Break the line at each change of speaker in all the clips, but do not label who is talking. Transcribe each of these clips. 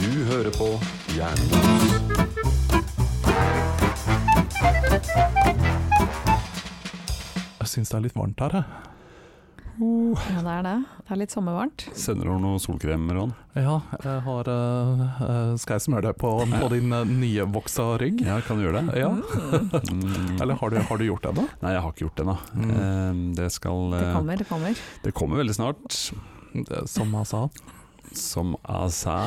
Du hører på Jernbanen.
Jeg syns det er litt varmt her, jeg.
Ja, det er det. Det er litt sommervarmt.
Sender du over noe solkrem, Ron?
Ja, jeg har eh, eh, Skal jeg smøre deg på, på din uh, nyvoksa rygg?
Ja, kan du gjøre det?
Ja.
Mm.
Eller har du, har du gjort det ennå?
Nei, jeg har ikke gjort det ennå.
Mm.
Eh, Det skal
Det
eh,
kommer, det kommer.
Det kommer veldig snart.
Det- Som jeg sa.
Som jeg sa.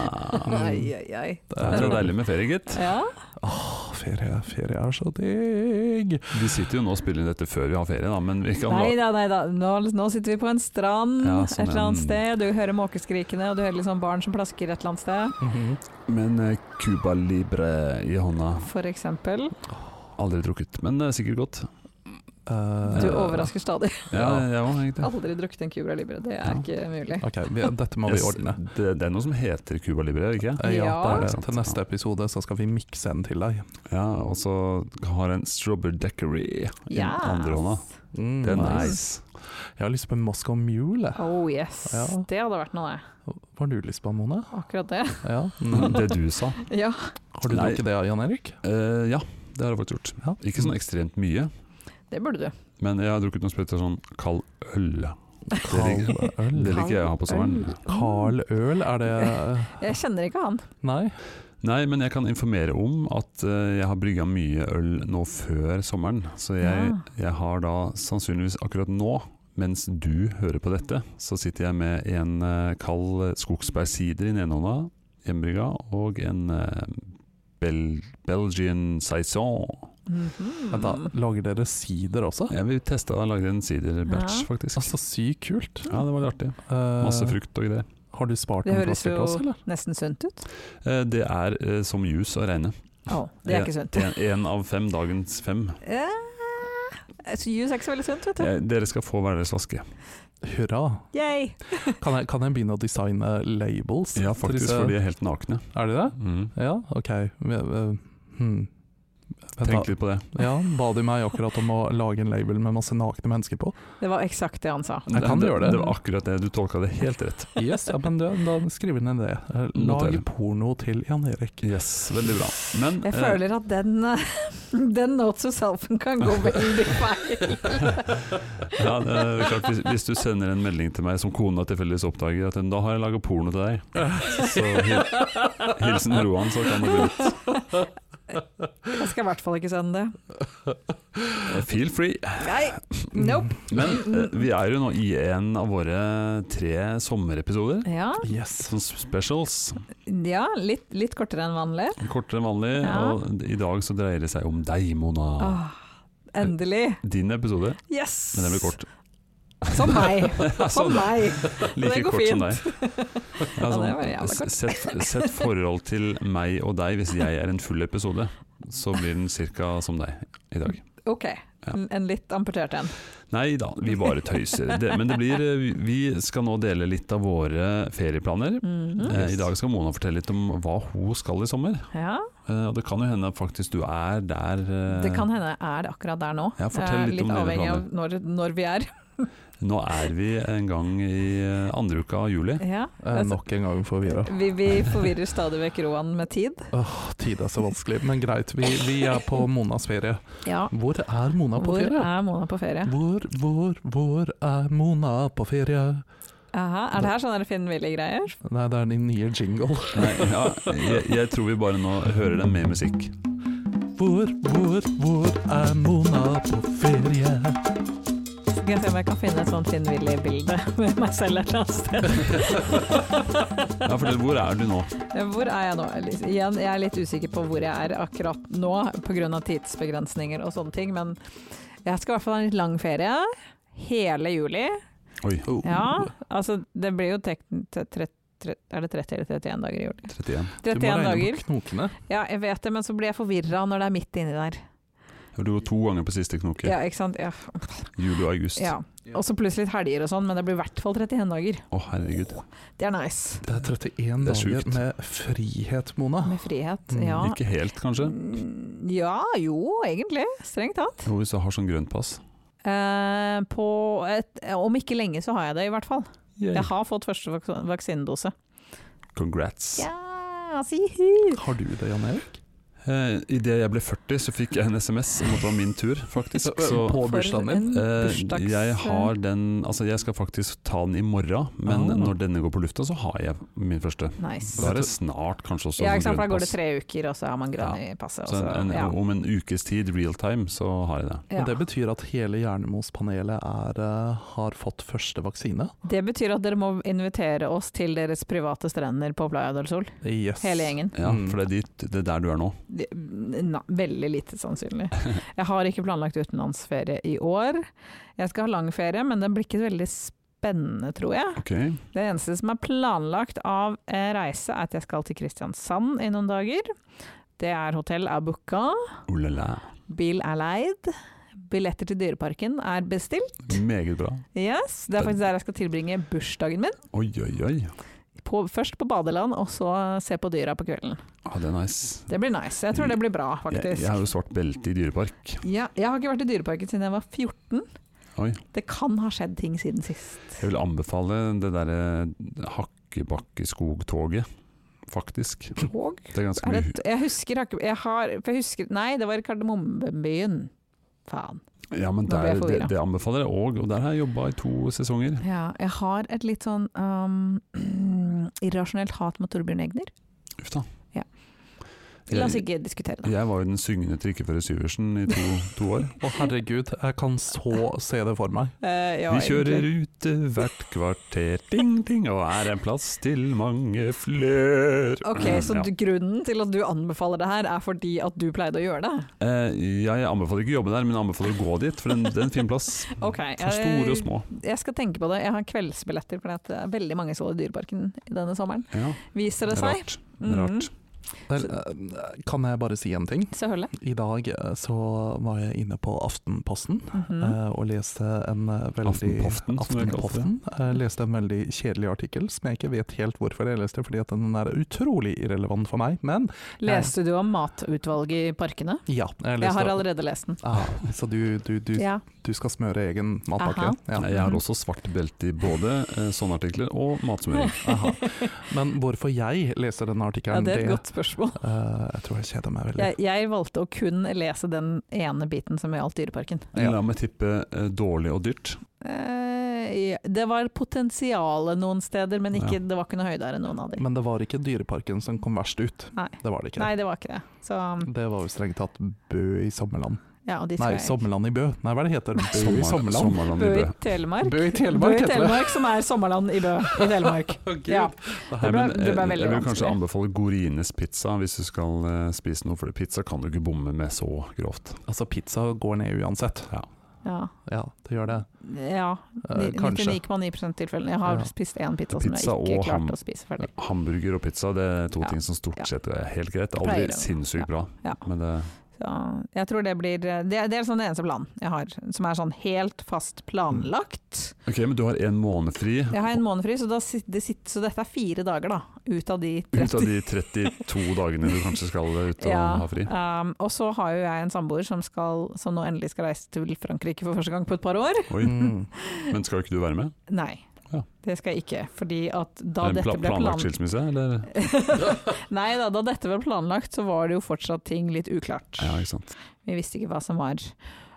Mm.
Ai, ai, ai.
Det er så deilig med ferie, gitt.
Ja.
Å, Eh, Ferie, ferie er så digg!
Vi sitter jo nå og spiller inn dette før vi har ferie, da, men vi kan
Nei da, nei da. Nå, nå sitter vi på en strand
Ja, sånn
et eller annet
en-
sted. Du hører måkeskrikene, og du hører liksom barn som plasker et eller annet sted,
Mhm.
Men eh, Cuba Libre i hånda.
for eksempel.
Aldri drukket, men det er sikkert godt.
Eh,
Du overrasker stadig.
Ja, jeg òg, egentlig.
Aldri drukket en Cubra Libre, det er
Ja.
ikke mulig.
Ok, vi, dette må vi
Yes,
ordne.
Det, det er noe som heter Cuba Libre, er det ikke?
Eh, Ja,
Ja.
det er det.
Sant,
Til neste episode så skal vi mikse en til deg.
Ja, og så har en Strawberry Deckery i den
Yes.
andre hånda.
Mm,
Det er
Nice.
nice.
Jeg har lyst på en Moscow Mule. jeg.
Oh yes,
Ja.
det hadde vært noe,
Hva har du lyst på, Mone?
akkurat det.
Ja. Mm.
Det du sa.
Ja,
Har du
Nei.
drukket det, Jan Erik?
Eh, ja, det har jeg faktisk gjort.
Ja.
Ikke sånn ekstremt mye,
det burde du.
men jeg har drukket noen sprøyter sånn kald øl.
Carl Øl.
Det liker jeg å ha på sommeren.
Carl Øl, er det
Jeg kjenner ikke han.
Nei?
Nei, men jeg kan informere om at eh, jeg har brygga mye øl nå før sommeren. Så jeg, jeg har da sannsynligvis akkurat nå, mens du hører på dette, så sitter jeg med en eh, kald skogsbærsider i den ene hånda, hjemmebrygga, og en eh, Bel Belgian saison.
Mhm.
Vent,
Mm.
da. Lager dere sider også?
Jeg vil teste å lage en siderbatch,
Ja.
faktisk.
Altså, sykt kult.
Ja, det var litt artig.
Eh,
Masse frukt og greier.
Har du spart
Det
noen
høres
flasker
jo
til oss, eller?
nesten sunt ut.
Eh, Det er eh, som juice å regne.
Å, det er ikke sunt.
En, en av fem dagens fem.
Eh, altså, Juice er ikke så veldig sunt, vet du.
Eh, Dere skal få hver deres flaske.
Hurra!
Yay!
Kan jeg, kan jeg begynne å designe labels?
Ja,
til
faktisk,
disse-
for de er helt nakne.
Er de det?
Mm.
Ja, OK. Vi- vi- Hmm. Vent da.
Tenk litt på det.
Ja, ba du meg akkurat om å lage en label med masse nakne mennesker på?
Det var eksakt det han sa.
Jeg kan
det,
gjøre det.
Det var akkurat det. Du tolka det helt rett.
Yes, ja, men du, da skriver vi ned det. Eh, Lag
Noterer.
porno til Jan Erik.
Yes, Veldig bra. Men
Jeg
eh,
føler at den, eh, den note to selfen kan gå veldig feil.
ja, det er klart, hvis, hvis du sender en melding til meg som kona tilfeldigvis oppdager at da har jeg laga porno til deg, så hil, hilsen Roan, så kan det bli litt
Jeg skal i hvert fall ikke sende det.
eh, Feel free.
Nei, nope.
Men eh, vi er jo nå i en av våre tre sommerepisoder.
Ja,
Yes.
Sånn specials.
ja litt, litt kortere enn vanlig.
Kortere enn vanlig.
Ja.
Og i dag så dreier det seg om deg, Mona.
Åh, endelig.
Din episode,
Yes!
men den blir kort.
Som meg. Som
Sånn.
meg.
Like
Det går
kort som deg. Ja,
det
sånn,
var jævla kort.
s- Sett, sett forhold til meg og deg hvis jeg er en full episode, så blir den ca. som deg i dag.
Ok,
Ja.
en en litt amputert en.
Nei da, vi bare tøyser. Det, men det blir, eh, vi- vi skal nå dele litt av våre ferieplaner.
Mhm.
Eh, I dag skal Mona fortelle litt om hva hun skal i sommer.
Ja,
Eh, Og det kan jo hende at faktisk du er der eh,
det kan hende er det akkurat der nå.
Ja, fortell
Eh,
litt om dine
avhengig av når, når vi er.
Nå er vi en gang i eh, andre uka av juli.
Ja.
Eh, nok en gang forvirra.
Vi, vi forvirrer stadig vekk Roan med tid.
Åh, tid er så vanskelig. Men greit, vi, vi er på Monas ferie.
Ja.
Hvor er Mona på
Hvor
ferie?
er Mona på ferie?
Hvor, hvor, hvor er Mona på ferie?
Aha, er det her sånne Finn Willy-greier?
Nei, det er din nye jingle.
Nei, ja, jeg, jeg tror vi bare nå hører den med musikk.
Hvor, hvor, hvor er Mona på ferie?
Skal jeg se om jeg kan finne et sånt Finn Willy-bilde med meg selv et eller annet sted.
Ja, fortell, hvor er du nå?
Hvor er jeg nå? Elise? Igjen, jeg er litt usikker på hvor jeg er akkurat nå pga. tidsbegrensninger og sånne ting, men jeg skal i hvert fall ha en litt lang ferie. Hele juli.
Oi,
Oh.
Ja,
Mm.
altså det blir jo tekn... te- tre- tre- Er det 30 eller 31 dager i juli?
31.
Du må
31
regne
dager.
på knokene.
Ja, jeg vet det, men så blir jeg forvirra når det er midt inni der.
Du går to ganger på siste knoke.
Ja, ikke sant? Ja.
Juli og august. Å,
ja. Og så plutselig litt helger og sånn, men det blir i hvert fall 31 dager.
herregud.
Det er nice.
Det er 31
Det er
dager
sjukt.
med frihet, Mona.
Med frihet.
Mm,
Ja.
Ikke helt, kanskje.
Mm, Ja, jo, egentlig. Strengt tatt.
Jo, hvis du har sånn grønt pass.
Eh, på et, om ikke lenge så har jeg det, i hvert fall. Jeg har fått første vaks- vaksinedose.
Congrats.
Ja, si hu!
Har du det, Jan Erik?
Eh, Idet jeg ble 40, så fikk jeg en SMS om at det var min tur, faktisk. Så
på
For
bursdagen din?
en
eh,
bursdags-
jeg har den Altså, jeg skal faktisk ta den i morgen, men
Ah.
når denne går på lufta, så har jeg min første. Da
Nice.
er det snart kanskje også
Ja,
sånn
ikke sant, for da
grønn
går det
pass.
tre uker, og så har man grønn i passet. Og
Så
så,
en, en,
ja.
Om en ukes tid, real time, så har jeg det.
Ja.
Men det betyr at hele Hjernemospanelet er, eh, har fått første vaksine?
Det betyr at dere må invitere oss til deres private strender på Playa del Sol,
Yes.
hele gjengen.
Ja,
Mm.
For det er, dit, det er der du er nå.
Det- Na, veldig lite sannsynlig. Jeg har ikke planlagt utenlandsferie i år. Jeg skal ha lang ferie, men den blir ikke veldig spennende, tror jeg.
Ok,
Det eneste som er planlagt av eh, reise, er at jeg skal til Kristiansand i noen dager. Det er hotell er booka,
Olala.
bil er leid, billetter til Dyreparken er bestilt.
Meget bra.
Yes, Det er faktisk der jeg skal tilbringe bursdagen min.
Oi, oi, oi.
På, først på badeland, og så se på dyra på kvelden.
Ah, det er nice.
Det blir nice. Jeg tror det blir bra,
Jeg, jeg
faktisk.
har jo svart belte i dyrepark.
Ja, jeg har ikke vært i Dyreparken siden jeg var 14.
Oi.
Det kan ha skjedd ting siden sist.
Jeg vil anbefale det derre Hakkebakkeskogtoget, faktisk.
Tog?
Det er ganske
Er
mye
det, jeg husker ikke jeg har, for jeg husker, Nei, det var i Kardemommebyen. Faen.
Ja, men
Nå ble
der,
jeg
det,
forvirret.
det anbefaler jeg òg, og der har jeg jobba i to sesonger.
Ja, jeg har et litt sånn um, irrasjonelt hat mot Torbjørn Egner.
Uff da.
Ja. La oss
Jeg,
ikke diskutere det.
jeg var jo den syngende trikkefører Syversen i to, to år.
Å herregud, jeg kan så se det for meg.
Eh, ja,
Vi kjører
egentlig.
ute hvert kvarter, ding ding, og er en plass til mange flør.
Ok, Så
ja.
du, grunnen til at du anbefaler det her, er fordi at du pleide å gjøre det?
Eh, ja, jeg anbefaler ikke å jobbe der, men jeg anbefaler å gå dit, for den- det er en fin plass.
Ok,
Mm. For store og
jeg,
små.
jeg skal tenke på det. Jeg har kveldsbilletter, for det er veldig mange som så i Dyreparken denne sommeren.
Ja,
Viser
det
det
er
seg? Mhm. Mm,
rart. Det er rart.
Vel, eh, Kan jeg bare si en ting?
Selvfølgelig.
I dag eh, så var jeg inne på Aftenposten
Mhm.
eh, og leste en eh, veldig
Aftenpoften, som det kalles.
Aftenpoften. Jeg leste en veldig kjedelig artikkel som jeg ikke vet helt hvorfor jeg leste, fordi at den er utrolig irrelevant for meg. Men
Leste du om matutvalget i parkene?
ja, jeg leste
Jeg har allerede lest den.
ah, Så du, du, du,
Ja.
du skal smøre egen matpakke?
Aha.
Ja.
Nei, Jeg har også svart belte i både eh, sånne artikler og matsmøring.
Aha. Men hvorfor jeg leser denne
ja,
artikkelen,
det er et godt spørsmål.
eh, Jeg tror jeg kjeder meg veldig.
Jeg, jeg valgte å kun lese den ene biten som gjaldt Dyreparken.
Ja.
La meg tippe eh, dårlig og dyrt.
Eh, ja, det var potensialet noen steder, men ikke, det var ikke noe høydere enn noen av dem.
Men det var ikke Dyreparken som kom verst ut.
Nei.
Det var det ikke.
Nei, det var ikke det. Så,
Det var jo strengt tatt Bø i Sommerland.
ja, og de
Nei,
skal jeg-
Sommerland i Bø. Nei, hva er det heter? Bø i Sommerland?
Sommerland i
Bø i
Bø.
Telemark.
Bø i
Bø
Telemark
i
heter det.
Telemark, som er Sommerland i Bø i Telemark. Ja.
Nei,
ble-
men,
det ble
eh,
veldig
jeg vil kanskje
vanskelig.
anbefale Gorines pizza hvis du skal eh, spise noe, for pizza kan du ikke bomme med så grovt.
Altså, pizza går ned uansett. Ja,
Ja.
det gjør det.
ja
Eh,
ni-
kanskje.
99,9 tilfellene. Jeg har
Ja.
spist én pizza,
Pizza
som jeg
og
ikke
ham.
klarte å spise ferdig.
Hamburger og pizza det er to
Ja.
ting som
Ja.
stort sett er helt greit.
pleier
Aldri
å-
sinnssykt bra,
Ja.
men det,
Så jeg tror det blir Det, det er sånn det eneste planen jeg har, som er sånn helt fast planlagt.
Ok, men du har en måned fri.
Jeg har en måned fri, så, da, sit- det sitter, så dette er fire dager, da. Ut av de
Ut av de 32 dagene du kanskje skal ut og
Ja,
ha fri.
um, og så har jo jeg en samboer som, skal, som nå endelig skal reise til Frankrike for første gang på et par år.
Oi,
Mm.
Men skal ikke du være med?
Nei,
Ja.
det skal jeg ikke. Fordi at da
er det en
dette
pla-
ble
planlagt
planlagt
skilsmisse, eller?
Nei da, da dette ble planlagt, så var det jo fortsatt ting litt uklart.
Ja, ikke sant.
Vi visste ikke hva som var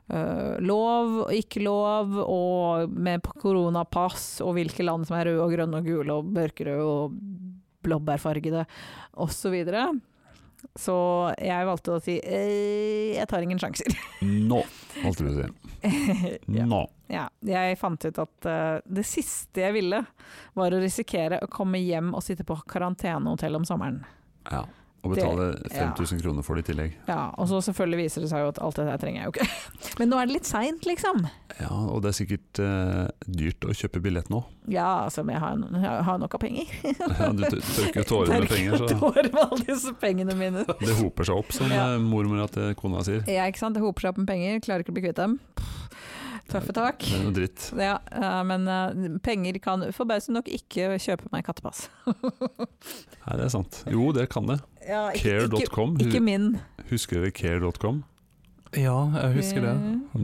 øh, lov og ikke lov, og med p- koronapass og hvilke land som er røde og grønne og gule og mørkerøde og blåbærfargede osv. Så, videre. så jeg valgte å si eh, jeg tar ingen sjanser.
Nå, valgte du å si.
ja.
Nå.
Ja, jeg fant ut at eh, det siste jeg ville, var å risikere å komme hjem og sitte på karantenehotell om sommeren.
Ja. Og betale
Det- ja.
5000 kroner for det i tillegg.
Ja, Og så selvfølgelig viser det seg jo at alt dette her trenger jeg jo ikke. Men nå er det litt seint, liksom.
Ja, og det er sikkert eh, dyrt å kjøpe billett nå.
Ja, altså, men jeg har, jeg har nok av penger.
Ja, du tør- tørker jo tårer med penger,
Tørker
så
tårer med alle disse pengene mine.
det hoper seg opp, som
Ja.
eh, mormora til kona sier.
Ja, ikke sant. Det hoper seg opp med penger, klarer ikke å bli kvitt dem. Pff, Tøffe tak.
Det er noe dritt.
Ja, eh, men eh, penger kan forbausende nok ikke kjøpe meg kattepass.
Nei, det er sant. Jo, det kan det.
Ja, ikke, ikke,
Care.com.
ikke min.
Husker dere care.com?
Ja, jeg husker det.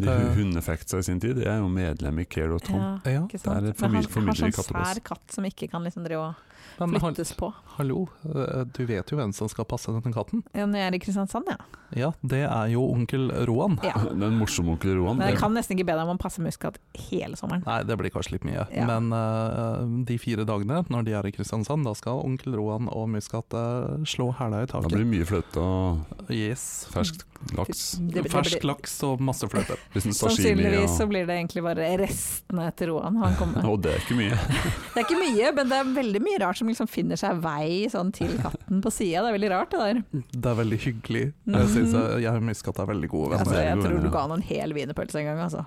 De hu- hundefactsa Eh, i sin tid. Jeg er jo medlem i care.com.
Ja,
Ja,
ikke sant.
der
Men han
formid-
har
formidler
sånn
katten oss.
sær katt som ikke kan liksom drive og
men hal
flyttes på.
hallo, eh, du vet jo hvem som skal passe denne katten?
Ja, når jeg er i Kristiansand, ja.
Ja, det er jo onkel Roan.
ja.
Den morsomme onkel Roan.
Men jeg kan nesten ikke be deg om å passe muskat hele sommeren.
Nei, det blir kanskje litt mye.
Ja.
Men eh, de fire dagene når de er i Kristiansand, da skal onkel Roan og Muskat eh, slå hæla i
Da
taket.
blir det mye fløte og
Yes.
fersk laks.
Det- det
Fersk
blir-
laks og masse fløte.
Litt sånn sashimi
Sannsynligvis så
og
blir det egentlig bare restene etter Roan han kommer med.
Og det er ikke mye.
Det er ikke mye, men det er veldig mye rart som liksom finner seg vei sånn til katten på sida. Det er veldig rart, det der.
Det er veldig hyggelig.
Mhm.
Jeg synes jeg, jeg og Muskat er veldig gode
Altså,
venner.
veldig
jeg
god
tror
venn,
du
ja.
ga han en hel wienerpølse en gang, altså.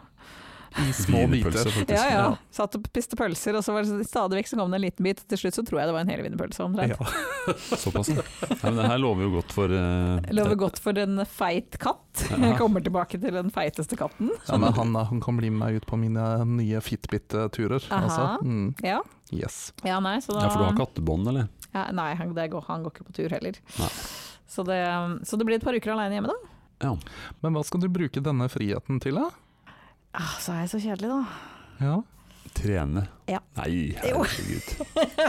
I små
Wienerpølse,
biter.
faktisk.
Ja ja. Satt og spiste pølser, og så var det stadig vekk så kom det en liten bit. Til slutt så tror jeg det var en hel wienerpølse, omtrent.
Ja.
Såpass. ja. Nei, men det her lover jo godt for eh,
Lover godt for en feit katt.
Ja.
Jeg kommer tilbake til den feiteste katten.
Ja, men han, eh, han kan bli med meg ut på mine nye Fitbit-turer. Altså.
Aha.
Mm,
Ja,
yes.
ja nei, så da
Ja, for du har kattebånd, eller?
Ja, nei, han, det går, han går ikke på tur heller.
Nei.
Så det, så det blir et par uker alene hjemme, da.
Men hva skal du bruke denne friheten til, da?
Ah, så er jeg så kjedelig, da.
Ja.
Trene.
Ja.
Nei,
Jo.
herregud.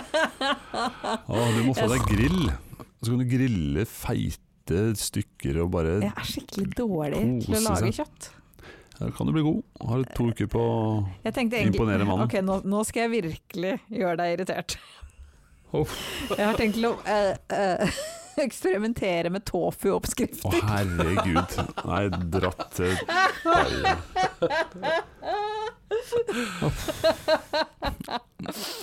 Å, du må få deg grill. Og så kan du grille feite stykker og bare
Jeg er skikkelig dårlig til å
Kose
lage kjøtt.
Da kan du bli god. Har du to uker på å
Jeg tenkte egentlig
imponere mannen.
Ok, nå, nå skal jeg virkelig gjøre deg irritert. Jeg har tenkt til å eh, eh, eksperimentere med tofu-oppskrift.
Å, herregud. Nei, dratt til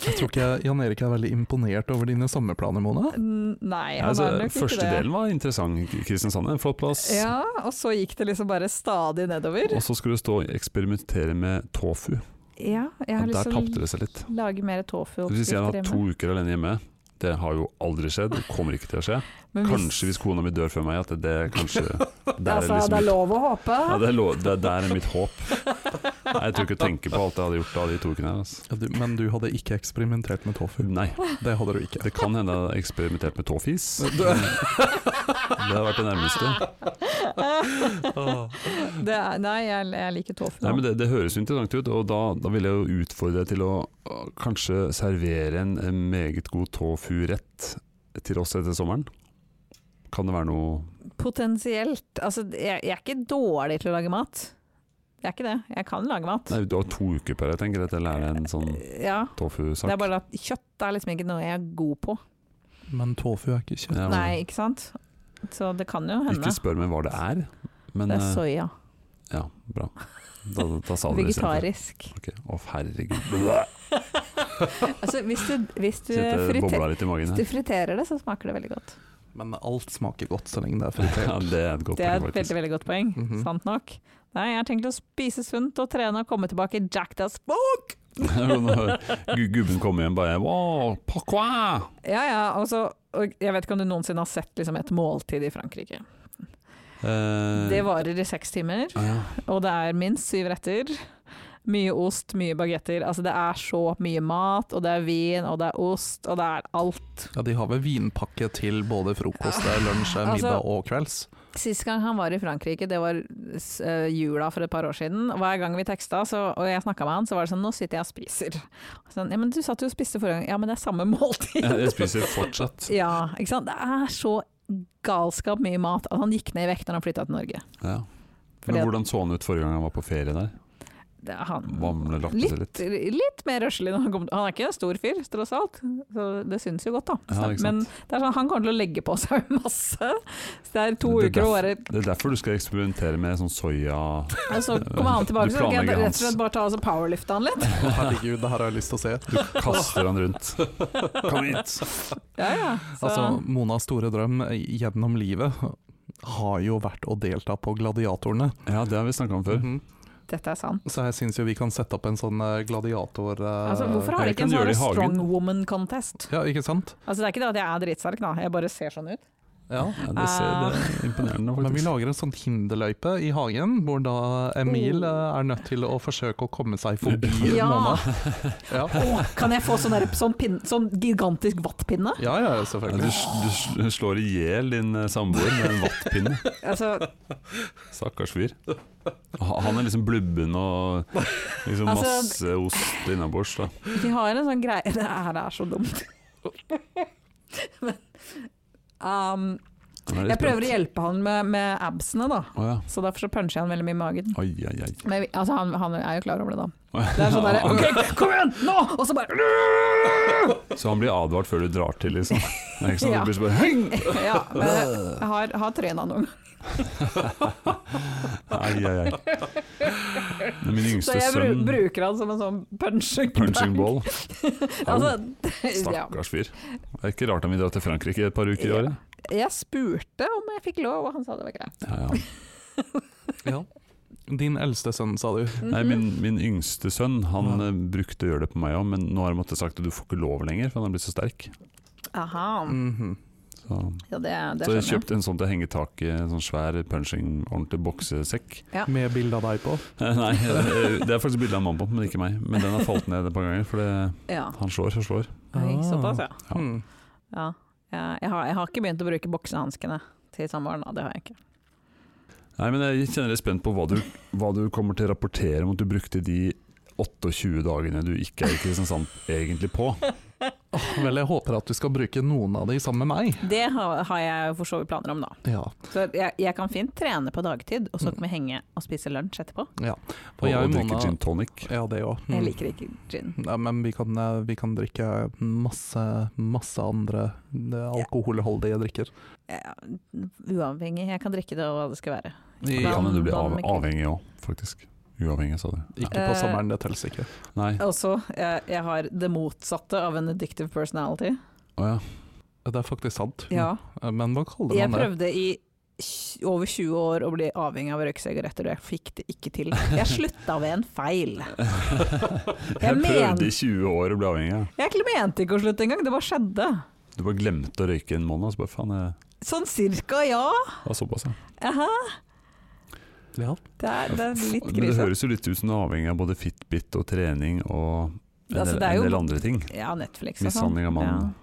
Jeg tror ikke Jan Erik er veldig imponert over dine sommerplaner, Mona.
N- Nei, han
altså,
er nok ikke
Første
det.
delen var interessant. Kristiansand er en flott plass.
Ja, og så gikk det liksom bare stadig nedover.
Og så skulle du stå og eksperimentere med tofu.
Ja, jeg har
Og der
lyst
tapte
til å
det seg litt.
lage mer
Hvis jeg har
tofu-oppskrifter
hatt to uker alene hjemme det har jo aldri skjedd, det kommer ikke til å skje.
Men hvis-
Kanskje hvis kona mi dør før meg, at det, det kanskje der er
Altså,
liksom
det er
mitt-
lov å håpe.
Ja, det er lov, det, der er mitt håp. Nei, jeg tror ikke å tenke på alt jeg hadde gjort da de to ukene her. Altså.
Ja, du, men du hadde ikke eksperimentert med tofu.
Nei,
Det hadde du ikke.
det kan hende jeg har eksperimentert med tåfis. Det har vært det nærmeste.
Det er, nei, jeg, jeg liker tofu.
Nei, men det, det høres jo interessant ut, og da, da vil jeg jo utfordre deg til å å, kanskje servere en en meget god tofu-rett til oss etter sommeren. Kan det være noe
Potensielt. Altså, jeg, jeg er ikke dårlig til å lage mat. Jeg er ikke det. Jeg kan lage mat.
Nei, du har to uker på deg, tenker jeg, til å lære en sånn
Ja. Det
tofu-sak.
er bare at kjøtt er liksom ikke noe jeg er god på.
Men tofu er ikke kjøtt.
Ja,
Nei, ikke sant? Så det kan jo hende.
Ikke spør meg hva det er, men
Det er
eh,
soya.
Ja, bra. Da, da sa du det istedenfor.
Vegetarisk.
Ok. Å, herregud.
eh,
Blæh!
Altså, hvis du, hvis du,
Kjente det
friter,
bobla litt i
hvis
magen
du
her.
friterer det, så smaker det veldig godt.
Men alt smaker godt så lenge det er
Ja,
fritert.
det er et godt
Det er et
poeng,
veldig,
faktisk.
veldig godt poeng.
Mhm.
Sant nok. Nei, jeg har tenkt å spise sunt og trene og komme tilbake i jacked as fuck!
Når gu- gubben kommer hjem bare Wow, pourquoi?
Ja, ja, og så og Jeg vet ikke om du noensinne har sett liksom, et måltid i Frankrike.
Eh,
Det varer i seks timer,
ah, ja.
og det er minst syv retter. Mye ost, mye bagetter. Altså, det er så mye mat, og det er vin, og det er ost, og det er alt.
Ja, de har vel vinpakke til både frokost, eh, lunsj,
Altså-
middag og kvelds.
Sist gang han var i Frankrike, det var s- eh, jula for et par år siden. og Hver gang vi teksta så, og jeg snakka med han, så var det sånn Nå sitter jeg og spiser. Sånn, ja, men du satt jo og spiste forrige gang. Ja, men det er samme måltid.
Jeg spiser fortsatt.
Ja, ikke sant. Det er så galskap mye mat at han gikk ned i vekt når han flytta til Norge.
Ja.
Fordi
Men
at-
hvordan så han ut forrige gang han var på ferie der?
Det, han,
Vamlelapte seg
litt, litt mer røslig når han kommer til Han er ikke en stor fyr, tross alt, så det syns jo godt, da.
Ja, ikke sant.
Men det er sånn, han kommer til å legge på seg masse. Så det er to
Det er
uker og
derf-
bare
Det er derfor du skal eksperimentere med sånn soya...
Og så kommer han tilbake,
Du
så kan jeg
planlegger
rett og
hans.
slett bare ta og så powerlifte han litt.
Herregud, det her har jeg lyst til å se.
Du kaster han rundt. Kom hit!
Ja, ja. Så,
Altså, Monas store drøm eh, gjennom livet har jo vært å delta på Gladiatorene.
Ja, det har vi snakka om før.
Mhm.
dette er sant.
Så jeg syns jo vi kan sette opp en sånn eh, gladiator... eh,
Altså, hvorfor har
jeg
de ikke
kan
en sånn
gjøre det i hagen.
strong woman contest?
Ja, ikke sant?
Altså, det er ikke det at jeg er dritsterk, da, jeg bare ser sånn ut.
Ja.
Ja, det, ser, det
Ah.
er imponerende,
Men vi
faktisk.
lager en sånn hinderløype i hagen, hvor da Emil eh, er nødt til å forsøke å komme seg forbi
Oh. Ja.
Mona. Ja.
Å, kan jeg få sånn, der, sånn, pinne, sånn gigantisk vattpinne?
ja, ja,
Ja, du,
selvfølgelig.
s- du s- slår i hjel din eh, samboer med en vattpinne.
Altså,
Stakkars fyr. Ha- Han er liksom blubben og liksom
Altså-
masse ost innabords. da.
de har en sånn greie Det her er så dumt. Men, um,
Han er litt
jeg prøver
sprøtt.
å hjelpe han med, med absene, da.
Å ja.
Så derfor så puncher jeg han veldig mye i magen.
Oi, oi, oi.
Men vi- altså, han, han er jo klar over det, da.
Å ja.
Det er sånn derre OK, kom igjen! Nå! Og så bare
Så han blir advart før du drar til, liksom. Det er ikke sånn at
Ja.
du blir så bare «Heng!»
Ja. Men jeg har, har tryna noen ganger.
Ai, ai, ai. Det er min
Så
yngste
jeg bru,
sønn.
bruker han som en sånn punching bag.
Punching ball.
Altså, ja.
Stakkars fyr. Det er ikke rart han vil dra til Frankrike et par uker i
Ja.
året.
Jeg spurte om jeg fikk lov, og han sa det var greit.
Ja, ja.
Ja. Din eldste sønn, sa du.
Mhm.
Nei, min, min yngste sønn han eh, brukte å gjøre det på meg òg, men nå har han måttet sagt at du får ikke lov lenger, for han har blitt så sterk.
Aha.
Mhm.
Så,
Ja, det, det
så jeg
skjønner jeg.
kjøpte en sånn til hengetaket, en sånn svær punching, ordentlig boksesekk.
Med bilde av deg på.
Eh, Nei, eh, det er faktisk bilde av en mann på den, men ikke meg. Men den har falt ned et par ganger, for det,
Ja.
han slår og slår.
Oi,
Ah.
såpass, ja.
Ja.
Mm.
ja. Jeg, jeg, har, jeg har ikke begynt å bruke boksehanskene til samboeren, da. Det har jeg ikke.
Nei, men jeg kjenner litt spent på hva du, hva du kommer til å rapportere om at du brukte de 28 dagene du ikke er i Kristiansand egentlig på.
Åh, Vel, jeg håper at du skal bruke noen av de sammen med meg.
Det har, har jeg jo for så vidt planer om, da.
Ja,
Så jeg, jeg kan fint trene på dagtid, og så kan vi henge og spise lunsj etterpå.
Og,
Og jeg og
og drikke
Mona-
gin tonic.
ja det òg.
Mm.
Jeg liker ikke gin.
Nei, men vi kan, eh, vi kan drikke masse, masse andre eh, alkoholholdige drikker.
Ja, uavhengig. Jeg kan drikke det og hva det skal være.
Det
I-
kan hende du blir av,
Vann med krim.
avhengig òg, faktisk. Uavhengig, sa du. Ja.
Ikke på
Eh,
sommeren, det teller ikke.
Nei,
Og så, jeg, jeg har det motsatte av en addictive personality.
å ja.
Det er faktisk sant.
Ja.
Eh, Men hva kaller
Jeg
man det?
prøvde i tj- over 20 år å bli avhengig av å røyke sigaretter, og jeg fikk det ikke til. Jeg slutta ved en feil.
Jeg
mener-
prøvde i 20 år å bli avhengig. ja.
Jeg ikke- mente ikke å slutte engang, det bare skjedde.
Du bare glemte å røyke en måned, og så bare faen, jeg
Sånn cirka, ja.
var såpass, ja.
Aha.
Ja.
Det er, det er litt
Men det
grisete.
høres jo litt ut som du er avhengig av både Fitbit og trening og en del,
Altså, det er
en
jo-
del andre ting.
Ja, Netflix og sånn.
Mishandling av mannen,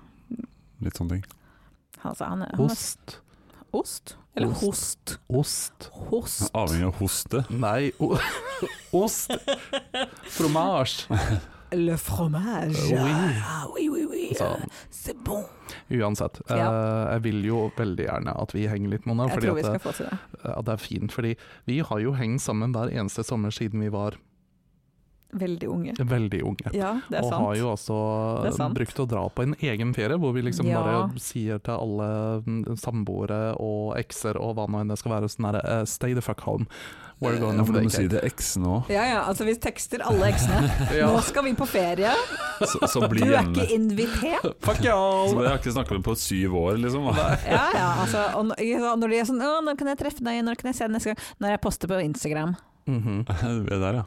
litt sånne ting.
Ja. Altså, han, er- han er
Ost.
ost? Eller host.
Ost.
Host.
Avhengig av hoste.
Nei, o ost. Fromage.
Le fromage.
Eh, oui.
Ah, oui, oui, oui.
Så,
C'est bon.
uansett, eh, jeg vil jo veldig gjerne at vi henger litt, Mona.
Jeg
Fordi
tror vi
at,
skal
det-
få til det.
ja, det er fint, fordi vi har jo hengt sammen hver eneste sommer siden vi var
Veldig unge.
veldig unge.
Ja, det er
og har
sant.
jo også
Det er sant.
brukt å dra på en egen ferie, hvor vi liksom
Ja.
bare sier til alle mm, samboere og ekser og hva nå enn det skal være, sånn herre eh, Stay the fuck home. We're
Eh, Ja,
going
for
for
du må
the
si det eksen òg,
Ja ja, altså vi tekster alle eksene.
Ja.
Nå skal vi på ferie,
så, så
du
bli
er
hjemme.
ikke invitert.
Fuck
Så
y'all!
jeg har ikke snakket med på syv år, liksom.
Ja, ja, altså, og n- ikke sant, når de er sånn «Å, 'Når kan jeg treffe deg? Når kan jeg se deg neste gang?' Når jeg poster på Instagram.
Mhm.
Det der, ja.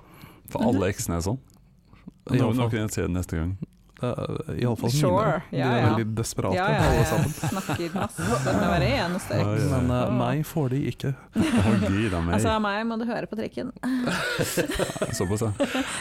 For alle eksene er sånn.
I
Nå,
alle
nå
fall.
kan jeg se det neste gang.
Eh, i alle fall
Sure,
mine. de
ja,
er
ja.
veldig desperate,
Ja, ja,
alle
jeg
sammen.
snakker masse med hver eneste
Ja, ja,
eks.
ja.
Men eh, meg får de ikke.
Å, gud a meg.
Altså, meg må du høre på trikken.
Såpass,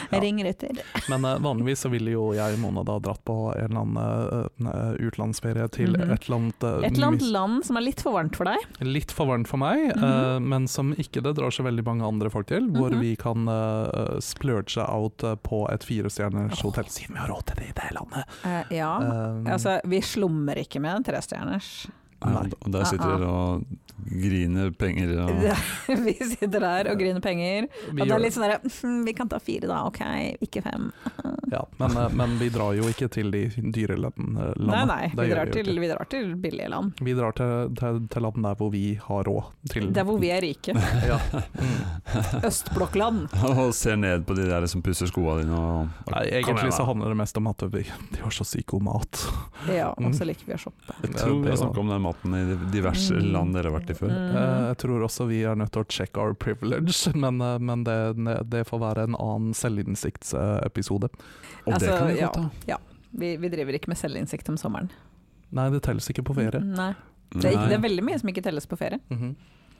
ja.
Ring Ruter.
Men eh, vanligvis så ville jo jeg og Mona da dratt på en eller annen eh, utlandsferie til
Mhm.
et eller annet eh,
Et eller
mis-
annet land som er litt for varmt for deg.
litt for varmt for meg, eh,
Mhm.
men som ikke det drar så veldig mange andre folk til. Hvor
Mhm.
vi kan eh, splurge out eh, på et firestjerners hotell, siden vi har råd til det i det landet.
Eh, ja.
Eh,
Altså, vi slummer ikke med en trestjerners.
Ja, og Der sitter dere og griner penger og
Vi sitter der og griner penger.
vi
Og det
gjør
er litt sånn derre «Hm, Vi kan ta fire, da. Ok, ikke fem.
ja, men, eh, men vi drar jo ikke til de dyre land- eh, landene.
Nei, nei.
Det
Vi
gjør
drar
jo
til,
ikke.
vi drar til billige land.
Vi drar til, til, til land der hvor vi har råd til
Der hvor vi er rike.
ja. mm.
Østblokkland.
Og ser ned på de der som pusser skoene dine og
Nei,
Kom igjen,
Egentlig så
da.
handler det mest om at vi, de har så sykt god mat.
Ja,
Mm.
og så liker vi å shoppe.
Jeg tror vi har snakket om den maten i diverse
Mm.
land dere har vært i før.
sånn. Eh,
Mm.
Jeg tror også vi er nødt til å check our privilege, men, eh, men det, det får være en annen selvinnsiktsepisode.
Og det
Altså,
kan vi
ja.
godt ta.
Vi, vi driver ikke med selvinnsikt om sommeren. Mm.
Nei, det telles ikke på ferie.
Nei. Det er, ikke,
Nei.
det er veldig mye som ikke telles på ferie.
Mhm.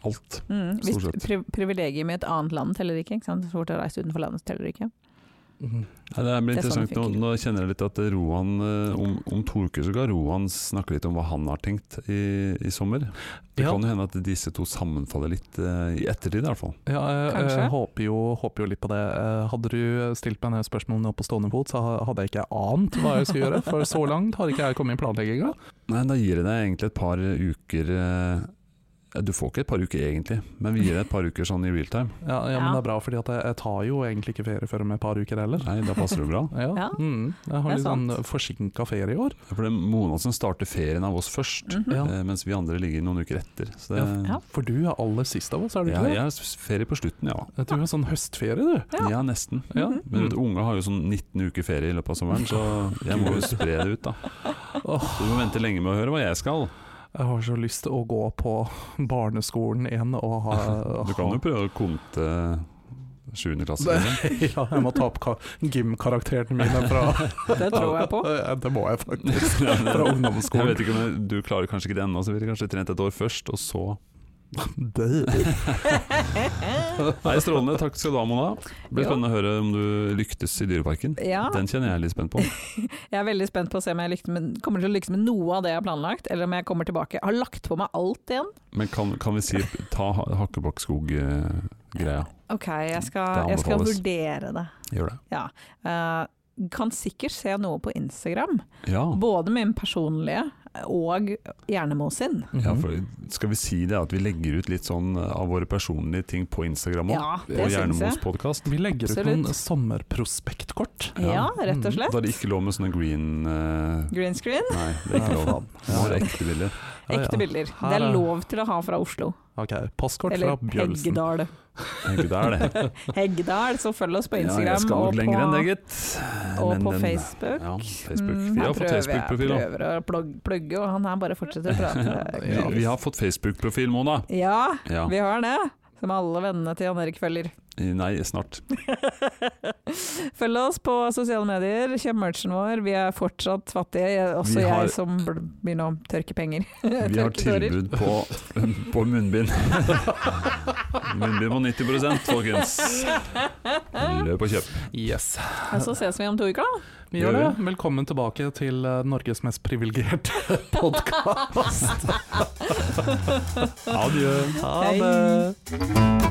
Alt.
Mm. Hvis
Stort sett.
pri privilegiet med et annet land teller ikke. ikke sant? Så fort å reise utenfor landet teller ikke.
Mhm.
Nei, det blir
Det er sånn
interessant.
det
Nå,
funker.
nå kjenner jeg litt at Roan eh, om, om to uker så skal Roan snakke litt om hva han har tenkt i, i sommer. Det
Ja.
kan jo hende at disse to sammenfaller litt eh, i ettertid, i hvert fall.
Ja, jeg,
Kanskje.
jeg håper, jo, håper jo litt på det. Eh, Hadde du stilt meg denne spørsmålet nå på stående fot, så ha- hadde jeg ikke ant hva jeg skulle gjøre. For så langt har ikke jeg kommet i planlegginga.
Nei, da gir jeg deg egentlig et par uker eh, ja, Du får ikke et par uker egentlig, men vi gir deg et par uker sånn i real time.
Ja, ja, men
Ja.
det er bra, fordi at jeg, jeg tar jo egentlig ikke ferie før om et par uker heller.
Nei, da passer det bra.
Ja.
Ja,
Mm. Jeg
det
har
er
litt sånn
sant.
forsinka ferie i år.
For det er Mona som starter ferien av oss først,
Mhm.
Ja.
eh, mens vi andre ligger noen uker etter. Så det,
Ja.
For du er aller sist av oss, er du
ja,
ikke
jeg har s- ferie på slutten, ja.
det? Du har sånn høstferie, du.
Ja,
Ja.
nesten.
Ja.
Mhm.
Men vet, du, unge har jo sånn 19 uker ferie i løpet av sommeren, så jeg må jo spre det ut, da.
Åh,
Du må vente lenge med å høre hva jeg skal.
jeg har så lyst til å gå på barneskolen igjen og ha
Du kan jo prøve å konte 7. klasse. liksom.
Ja, jeg må ta opp ka- gymkarakterene mine fra
Det tror jeg på.
Ja, Det må jeg faktisk.
Nei, nei,
Fra
nei. Jeg
ungdomsskolen.
vet ikke om jeg, Du klarer kanskje ikke det ennå, så ville du kanskje trent et år først, og så
Det-
Nei, Strålende. Takk skal du ha, Mona. Det blir
Jo.
spennende å høre om du lyktes i Dyreparken.
Ja,
Den kjenner jeg er litt spent på.
jeg er veldig spent på å se om jeg lyktes med, kommer til å lykkes med noe av det jeg har planlagt, eller om jeg kommer tilbake. Jeg har lagt på meg alt igjen.
Men kan, kan vi si ta ha- eh, Hakkebakkskog-greia?
Ok, jeg
Det
skal, jeg skal
anbefales.
vurdere det.
Gjør det.
Eh, kan sikkert se noe på Instagram.
Ja.
Både min personlige og Hjernemo sin.
Mhm.
ja for skal vi si det at vi legger ut litt sånn av våre personlige ting på Instagram òg?
Ja, det
og
syns
Hjernemos
jeg.
podkast?
Vi legger ut
Absolutt.
noen sommerprospektkort.
Ja, rett og
Mm,
Da
slett.
er det ikke lov med sånne green eh,
Green screen.
Nei, det er ikke
Ja,
lov.
faen.
Det må være ekte bilder.
Ja, ja.
Ekte bilder.
Her
Det er
er-
lov til å ha fra Oslo.
Ok, Postkort
Eller
fra Bjølsen.
Heggedal.
Ikke der, det.
Heggedal, så følg oss på
ja,
Instagram
jeg skal
og,
nok lenger enn det,
på,
gitt.
og
Men
på
den-
Facebook.
Ja, Facebook.
Mm,
Vi
her
har fått
prøver jeg-
Facebook-profil òg.
Prøver å plog- plugge, og han her bare fortsetter å prate.
Vi, vi har fått Facebook-profil, Mona.
Ja,
Ja.
vi har det. Som alle vennene til Jan Erik følger.
Nei, snart.
Følg oss på sosiale medier, kjøp merchen vår. Vi er fortsatt fattige, jeg- også
Vi har-
jeg som bl- begynner å tørke penger.
Vi har
Tørke tårer.
tilbud på, på munnbind. munnbind på 90 folkens. Løp og kjøp.
Yes.
Og så ses vi om to uker, da.
Vi
Gjør
gjør det. Velkommen tilbake til eh, Norges mest privilegerte podkast.
Adjø.
Ha
Hei.
det.